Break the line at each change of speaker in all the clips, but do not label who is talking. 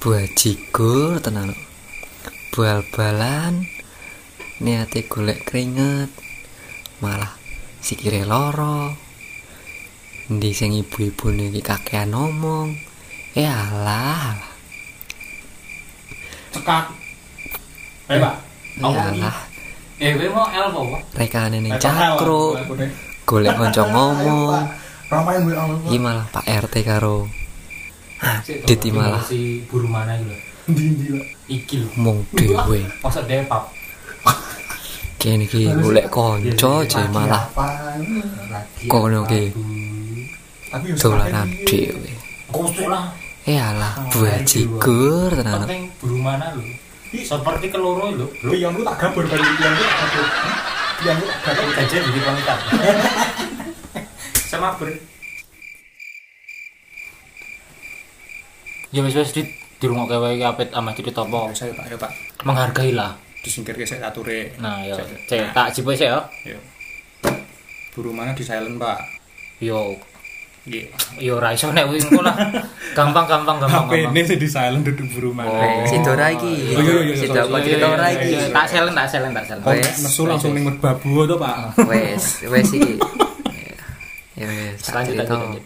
buah jigul tenan lho. bal-balan niate golek keringet malah sikire loro ndi sing ibu-ibu niki kakean ngomong eh alah alah.
cekak eh pak
eh
apa ini?
alah
eh gue mau elf apa Eh,
rekane
Eh,
ning cakro golek kanca ngomong
Ramain gue awal
iki malah Pak RT karo Dit iki malah
si buru mana gitu
Ndi-ndi pak
iki lho
mung dhewe
masa depap
kene iki golek kanca je malah
Apa?
kono ki
Tapi ya
dolanan
sakit.
dhewe
kusuk lah
eh
Oh,
alah
iya.
buah jigul tenan lho.
penting buru mana lho
Ih.
seperti keloro lho
Lu yang lu tak gabur baru yang lu tak gabur. Yang lu tak gabur.
gajah jadi pangkat sama ber
ya wis wis dit dirungokke wae iki apit ama cerita apa
Saya pak, ya pak.
menghargai lah
Disingkir ke saya ature.
nah ya
Saya-
cek tak jipuk sik ya
Ya. Buru mana di silent pak?
yo
Iya.
yo ora iso nek kuwi engko lah gampang gampang gampang
HP ini
gampang
sih di silent duduk buru
Oh.
mana.
Sido ora iki.
Oh, iya, iya, iya,
Sido apa
iya,
cerita ora
Iya,
iki.
iya, iya, tak selen tak selen tak selen
Kok
Wes.
Nesu langsung ning merbabu tuh pak.
Wes, wes iki. Ya wes, tak
Lanjut,
cerita.
lanjut, lanjut.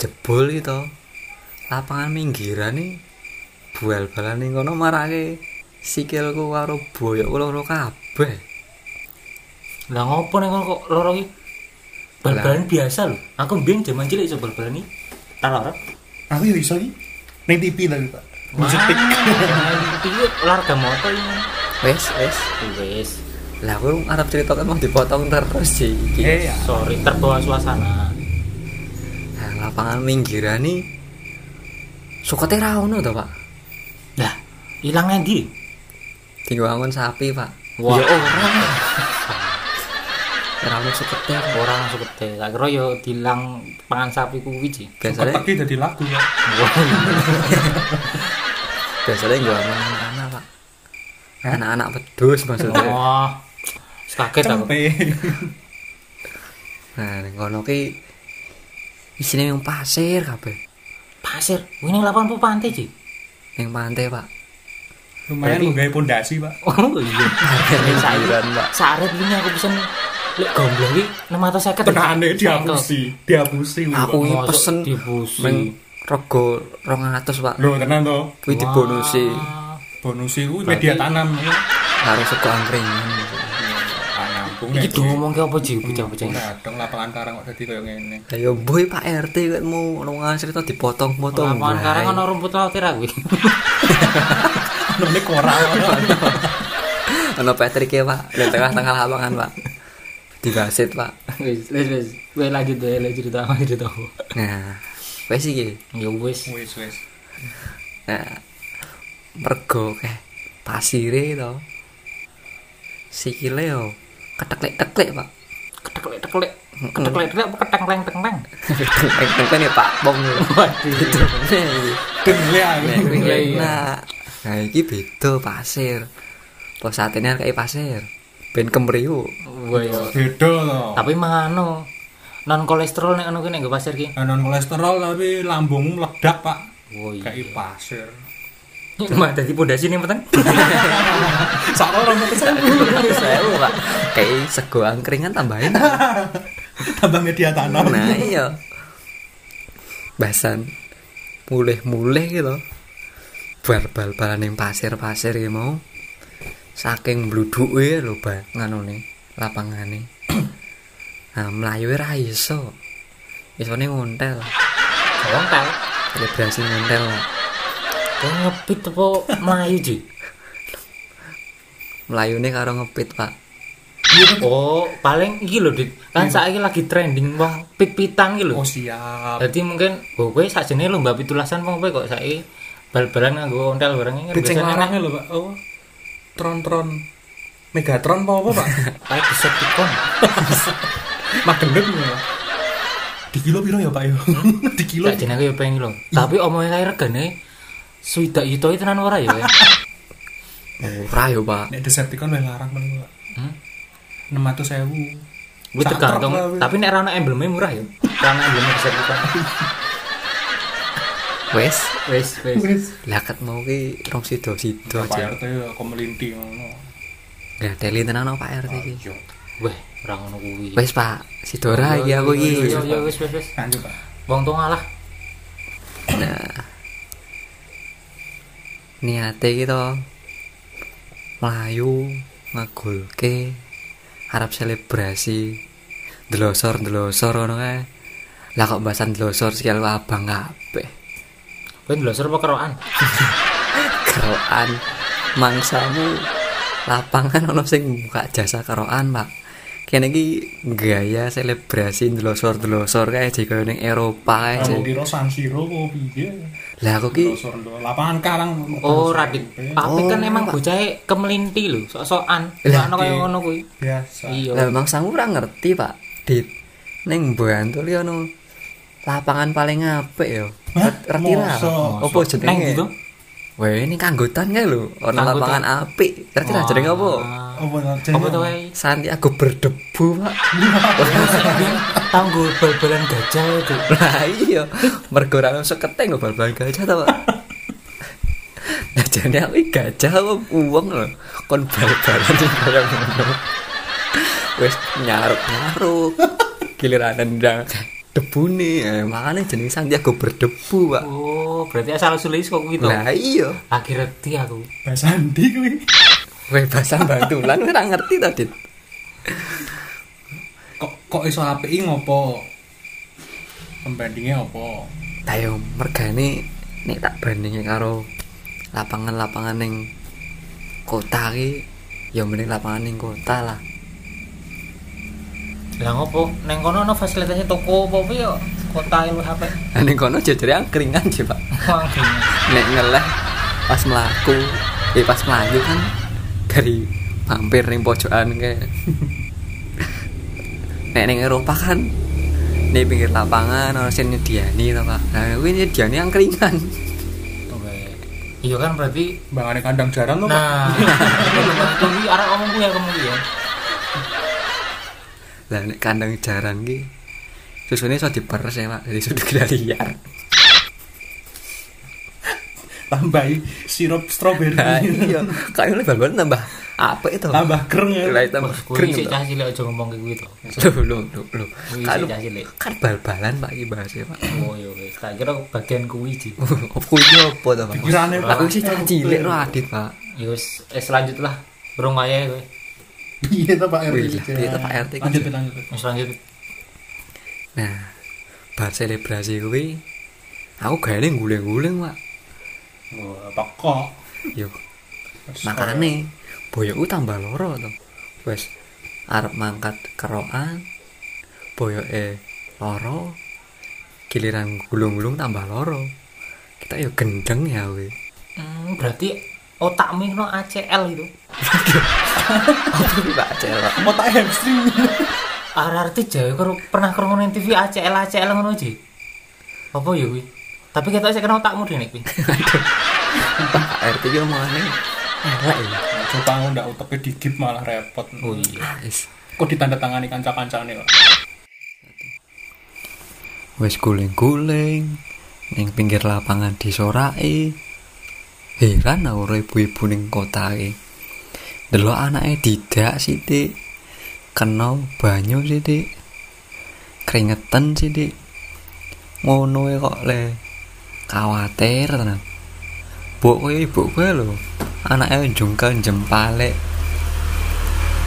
Jebol iki to. Lapangan minggiran iki bual-balan ning kono marake sikilku karo boyok loro kabeh.
lah ngopo nek kono kok loro iki bal-balan biasa lho aku mbiyen jaman cilik iso bal-balan iki tak loro
Aku ya iso iki. Ning TV tapi pak.
Wah, iki olahraga motor iki
Wes, wes.
Ih, wis
Lah aku arep cerita kan mau dipotong terus sih iki.
Eh.
Iya.
sorry terbawa suasana
Nah, lapangan minggiran iki sukote ra ono to, Pak.
lah ilang endi
Diwangun sapi, Pak.
wah ora
Ora ono sukote.
ora langsung gede tak kira yo dilang pangan sapi kuwi sih
Biasanya
Ketek iki dadi lagu ya.
biasanya gue sama anak-anak pak anak-anak pedus
Iya.
maksudnya
wah Oh. kaget aku
Tempe.
nah ngono ki isinya yang pasir kabeh
pasir ini lapangan apa pantai sih
yang pantai pak
Lumayan
Berarti-
nggawe pondasi pak.
oh iya
yang sayuran pak
saaret ini aku pesen lek gomblo iki 650
Tenane dihapusi, dihapusi. Pak.
aku ini
Masuk
pesen
dibusi.
meng rego rong atus pak
Lho tenan to.
kui dibonusi
Bonusi ku media tanam.
harus sego angkringan
Tanam pun.
iki do ngomong ke apa sih bocah-bocah ini?
Nah, dong lapangan karang kok dadi koyo ngene.
ayo boy pak RT kan mau nongan cerita dipotong-potong
lapangan karang
Bay.
ana rumput laut ra kuwi
Nune koral.
ono Patrick ya pak di tengah-tengah lapangan pak di wasit pak
wis wis wis Weh, lanjut deh lek cerita apa cerita apa
nah wes iki
ya wis
Wis wis.
Nah, mergo keh pasire to. Sikile yo keteklek-teklek, Pak.
keteklek teklek keteklek teklek apa ketengkleng tengkleng
Keteklek-teklek ya, Pak. Bong. yo. Itu bener iki.
Denle aku.
Nek kuwi
Iya, iya.
enak. Nah, iki beda pasir. Pos satene arek pasir. Ben kemriuk.
wah ya
Beda to.
tapi mangano non kolesterol nek anu ki nek nggo pasir ki
Non kolesterol tapi lambung meledak, Pak.
oh iya
Kayak pasir.
cuma dadi pondasi ning peteng
Sak orang mung kesel.
Sewu, Pak. Kayak sego angkringan tambahin.
Tambah media tanam.
Nah, iya. Basan mulih-mulih gitu. Bal-bal-balan yang pasir-pasir ya mau. Saking bluduke lho ba nganone lapangane. Nah, mlayu ra iso. Isone ngontel,
wong tal
selebrasi ngontel. lah.
kok ngepit apa melayu ji
Mlayune karo ngepit, Pak.
oh paling iki lho dit kan saiki lagi trending wong pit-pitan iki lho
Hmm. Oh siap.
dadi mungkin oh kowe sakjane lomba pitulasan wong kowe kok saiki bal-balan nganggo ontel bareng iki kan
Kucing
biasanya kan
larangnya lho, Pak. Oh. Tron-tron. Megatron apa apa, Pak?
kayak Decepticon
Iya, Magnet ya. Di kilo piro ya, Pak ya?
Hmm?
Di kilo.
Tak jenenge yo pengen lho.
Iya.
Tapi omongnya kae regane swidak yuto itu tenan ora ya. Wen?
Ora yo, Pak.
Nek Decepticon wis larang meneng, Pak.
Hmm?
600.000.
Kuwi
Sak
tergantung.
truk lah, weh.
Tapi nek ra ono emblemnya murah ya. Ra ono emblemnya bisa kita.
wes
Wes, wes.
lah ket mau ki rong sido sido
Pak
aja
RT kok melinti ngono.
nggak teli tenan no, pak rt ki
Ayo. iya.
Weh, ora ngono kuwi.
wes pak sido ra iki iya,
Iya,
aku gitu.
Yo,
iki
yo, yo, wes, wes, wes.
Lanjut, Pak.
Wong tuwa ngalah.
niate kita melayu ngagulke harap selebrasi delosor delosor ngono kae lah kok bahasan delosor sekali abang kabeh
Kowe ndlosor apa kerokan?
keroan mangsamu lapangan ono sing buka jasa kerokan pak kene iki gaya selebrasi delosor-delosor kae jek koyo ning Eropa kae
Eh,
jek.
Aku kira San Siro kok piye?
Lah aku ki
Dosor lapangan karang.
Oh, Radit. Tapi
Oh,
kan emang
Pak.
bocahe kemelinti lho, sok-sokan.
Lah, iya.
Lah ono kaya ngono kuwi.
Biasa.
lah
Iya.
mangsamu ora ngerti pak Dit ning Bantul ya ono lapangan paling apik ya. yo
Hah?
Retira
Masa?
opo
Nang gitu.
jenenge Weh ini kanggotan kae lho ono
Kanggotan.
lapangan apik Retira
Wah.
jenenge opo
Apa
Apa tuh,
tuh?
Wei?
Santiago berdebu pak
Tanggo bal-balan gajah itu.
Lah iya, mergo ra iso keteng bal-bal gajah ta, Pak. Nah, jane aku iki gajah apa uwong lho. Kon bal-balan sing kaya ngono. Wis nyaruk-nyaruk. Giliran nendang debune, eh, makane jenenge Santiago berdebu, Pak.
Oh, berarti asal usulnya kok kuwi to.
Lah iya,
Akhirnya ngerti aku.
Pak Sandi kuwi.
bebasan bantulan ora ngerti ta, Dit.
Kok kok iso API ngopo? Pembandingnya opo?
Ayo mergane nek tak bandingi karo lapangan-lapangan ning kota ki ya mending lapangan ning kota lah.
Lah ngopo neng kono ono fasilitasnya toko apa piye kok kota e lu HP.
Nah, Ning kono jajare angkringan sih, Pak.
Wah, gini.
Nek ngeleh pas mlaku, eh pas mlayu kan dari mampir ning pojokan kayak Nek ning Eropa kan di pinggir lapangan ono sing nyediani to, Pak. Nah, kuwi nyediani angkringan.
Weh. Iya kan berarti
Mbangane kandang jaran lho, Pak.
nah kuwi arek omong kuwi ya kamu kuwi ya.
Lah nek kandang jaran ki susune iso diperes ya, Pak, dari sudut liar.
Tambahi sirup strawberry.
Nah, iya, kayak oleh bal nambah apa itu?
Tambah kereng ya.
Lah, tambah
Wah,
kering.
kuwi sik cah cilik aja ngomong kayak kuwi to.
Loh, loh, loh, loh.
Kuwi
Kan
sik cah cilik.
kan bal-balan Pak iki bahasnya, Pak.
Oh iya wis tak kira bagian kuwi sih.
Opo iki apa to, Pak?
Pikirane, Pak.
Aku sih cah cilik ro adit, Pak.
Ya wis eh lanjut lah. Burung ae kowe.
Piye ta Pak RT?
Wih, lah, piye ta Pak kan RT iki?
Lanjut lanjut.
Wis lanjut.
Nah, bar selebrasi kuwi aku gaene guling-guling, Pak.
Wah, pokok.
Yo, makane boyokku tambah loro to. Wes arep mangkat kerokan boyoke loro giliran gulung-gulung tambah loro. Kita yo gendeng ya we.
Hmm, berarti otakmu ini no ACL gitu.
Apa iki, Pak Cel? Pak?
Otak hamstring.
Arti Jawa karo pernah krungu ning TV ACL ACL ngono sih. Apa ya kuwi? Tapi ketok sik kena otakmu dene kuwi.
Pak RT yo omongane elek ya.
Coba aku ndak uteknya digip malah repot.
Oh iya.
Wes.
Kok ditandatangani kanca-kancane kok.
wis guling-guling ning pinggir lapangan disoraki heran aku ora ibu-ibu ning kota iki delok anake didak sithik kena banyu sithik keringetan sithik ngono e kok le kawatir tenan mbok kowe ibu kowe lho e anake jungkel jempalek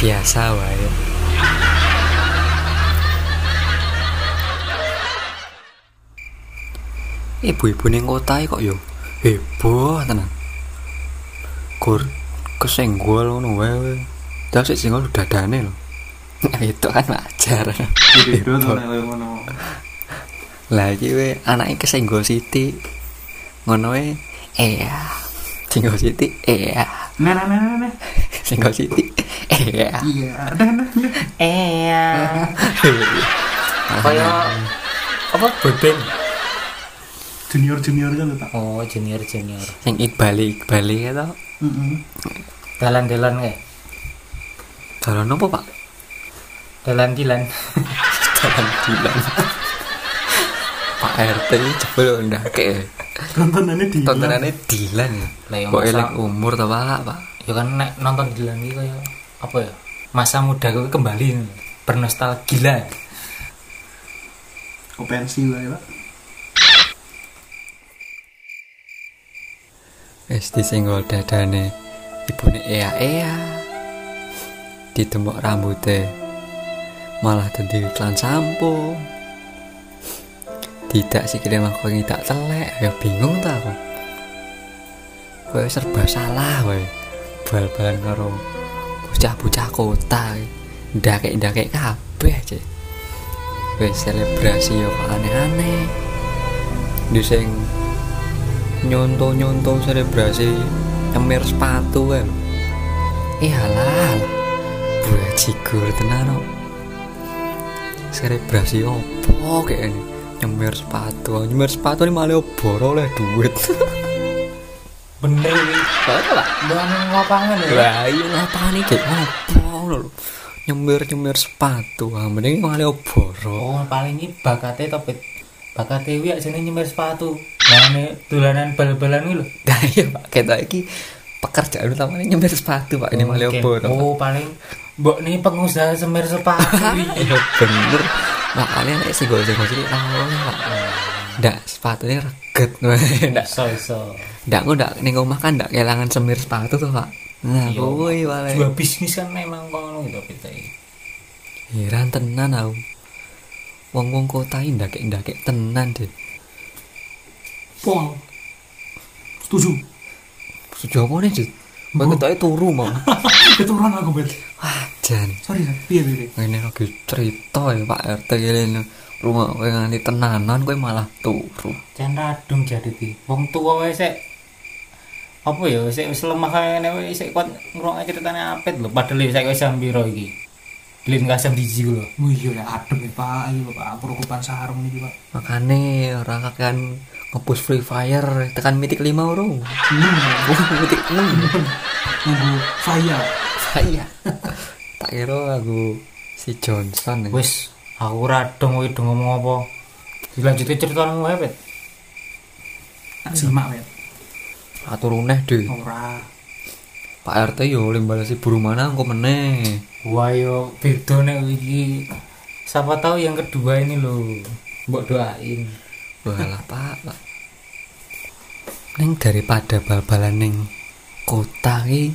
biasa wae ibu-ibu ning kota iki e kok yo heboh tenan. Gur kesenggol ngono wae wae. Terus sik senggol dadane lho. Nah, itu kan wajar.
Gitu tuh nek ngono.
Lah iki we anake kesenggol sithik. Ngono we iya. Senggol sithik iya.
Nah nah nah nah, nah.
Senggol sithik iya.
Iya, nah nah. nah.
Eh ya. Kaya apa beben?
Junior-junior kan lho, Pak.
Oh, junior junior.
Sing ikbali ikbali ya to.
Heeh.
Dalan-dalan kae.
Dalan apa, Pak?
Dalan-dilan.
Dalan dilan. Pak RT ini jebol ndake.
Tontonannya di
tontonannya Dilan ya
Lah, ya,
kok
masa-
elek umur ta pak pak
ya kan nek nonton di dalam itu kayak apa ya masa muda gue kembali bernostalgia
pensi lah ya pak
SD singgol dadane ibune ea ea ditemok rambutnya malah dadi iklan sampo tidak sih kira makongi tak telek ya bingung ta aku kowe serba salah wae bal-balan karo bocah-bocah kota ndakek-ndakek kabeh cek wis selebrasi yo kok aneh-aneh di sing nyontoh-nyontoh selebrasi nyemir sepatu Eh, kan iyalah buat cigur tenan kok. selebrasi opo kayak ini nyemir sepatu oh. nyemir sepatu ini malah boro oleh duit
bener
lah
bukan ngapangan ya
lah iya lapangan ini kayak opo lho nyemir nyemir sepatu ah mending malah boro
oh paling ini bakatnya topet bakatnya wih aja nyemir sepatu nah ini tulanan bal-balan ini lho
nah iya pak kita ini pekerjaan utamanya nyemir sepatu pak ini malah
Oke.
boro Pak.
oh paling mbok nih pengusaha semir sepatu
Iya bener. Makanya nek sing gojek gojek iki awalnya Pak. Ndak sepatunya reget. Ndak
so so
ndak aku ndak ning omah kan ndak kelangan semir sepatu tuh Pak. Nah,
Iya.
kowe wae.
dua bisnis kan memang kono gitu kita ini
Heran tenan aku. Wong-wong kota iki ndakek-ndakek tenan, Dit.
pol setuju
Setuju apa nih, Dit? Mbak ketoke turu mau.
keturunan aku bet
Wah, jan.
sorry kan iya iya iya.
Ini lagi cerita ya Pak RT ini. Rumah kowe nganti tenanan kowe malah turu.
Jan radung jadi ti. Wong tua wae sik apa ya sik wis lemah kaya ngene wae sik kuat ngrungokne ceritane apit lho padahal sik wis sambiro iki. Dilin kasem diji ku lho.
Oh iya lah adem ya pak, ayo pak, aku rukupan sarung nih pak.
Makane orang akan ngepush Free Fire tekan mitik 5 urung.
Hmm,
Wah, mitik 6.
nunggu saya.
Saya. tak kira aku si Johnson. ya.
Wis aku radung kowe do ngomong apa. Dilanjutke ceritamu wae pet.
Tak simak bet.
atur uneh deh.
Ora.
Pak RT yo limbal si buru mana engko meneh.
Wah yo beda nek iki. Siapa tahu yang kedua ini lho. Mbok doain.
Walah Pak, Pak. Neng daripada bal-balan neng kota ki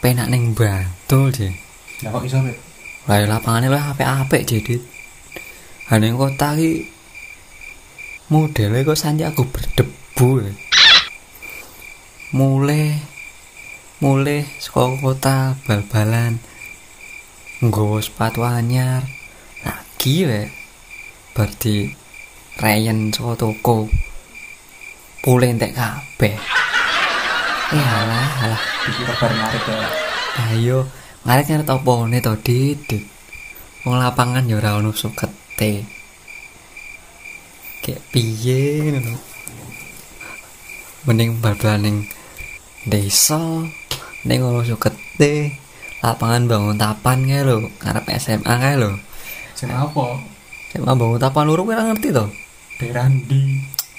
penak neng Bantul deh.
Ya kok iso bet?
Lah ya lapangannya lah apik-apik jadi. Ha ning kota iki modele kok Santiago berdebu. ya. Mulai mulai saka kota bal-balan nggawa sepatu anyar lagi ya bar di rayen saka toko pule entek kabeh ya alah alah
Dikira bar ngarit ya.
Ayo, kan ngaret ngaret opone to, Dit. Dit. Wong lapangan ya ora ono sukete. Kayak piye ngono. Mending bal-balan ning desa, ning ono sukete. Lapangan bangun tapan kae lho, ngarep SMA kae lho.
Sing apa?
SMA bangun tapan loro kowe ora ngerti to?
Daerah ndi?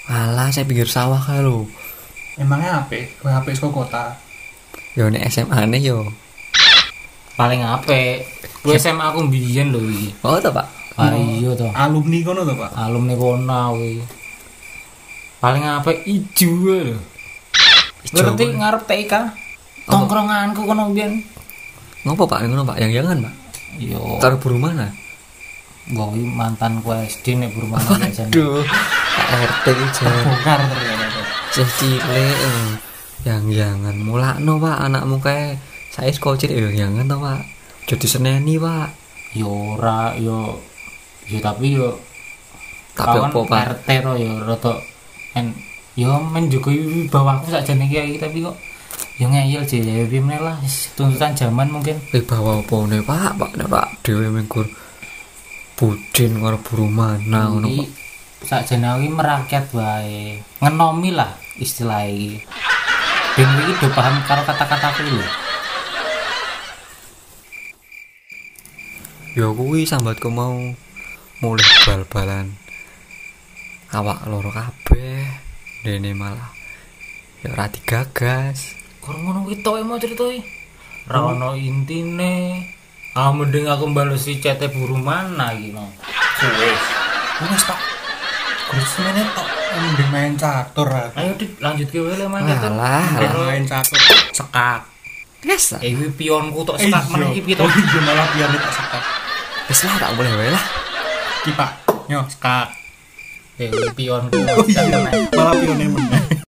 Alah, saya pinggir sawah kae lho.
Emangnya HP? Kue HP saka kota.
Yo Ya, nek SMA ne yo.
Paling apik. Lu SMA aku mbiyen lho iki.
Oh to, Pak?
Ah iya to.
Alumni kono to pak?
alumni kono kuwi paling apa ijo lho ngerti ngarep TIK tongkronganku kono mbiyen
Ngopo Pak ngono Pak? Yang jangan Pak.
yo
Taruh buru mana?
gawe mantan ku SD nek Burmana jan
Duh, Pak RT iki jan
Bongkar ternyata. Pak.
cih cilik. eh. Yang jangan mulakno Pak anakmu kae. Saya sekolah cilik yang jangan eh, to Pak. Jadi seneni Pak.
yo ora yo yo tapi yo
Tapi
kawan
opo Pak?
RT to yo rada en yo men juga wibawaku sakjane iki tapi kok yo ngeyel jek piye lah wis tuntutan zaman mungkin
Wibawa opone Pak? Pak nek Pak dhewe mengkur bucin karo buru mana ngono
Jadi
Pak.
sakjane aku iki merakyat wae. Ngenomi lah istilah iki. Ben iki do paham karo kata-kata aku lho.
Ya kuwi sambatku mau mulai bal-balan awak loro kabeh dene malah ya ora digagas
Kurang ngono kuwi tok mau critoi. Ra ono intine. Ah mending aku balas si cete buru mana iki no.
Suwes.
Wes tak. Kurus meneh tok mending main catur aku.
Ayo dit lanjut ke wele mana tuh.
Alah, alah.
Main catur sekak.
wes lah
Eh kuwi pionku tok sekak meneh iki tok.
Oh iya malah pian tak sekak.
wes lah tak boleh wae lah
Ki Pak, nyo sekak.
Eh kuwi pionku
Malah pione meneh.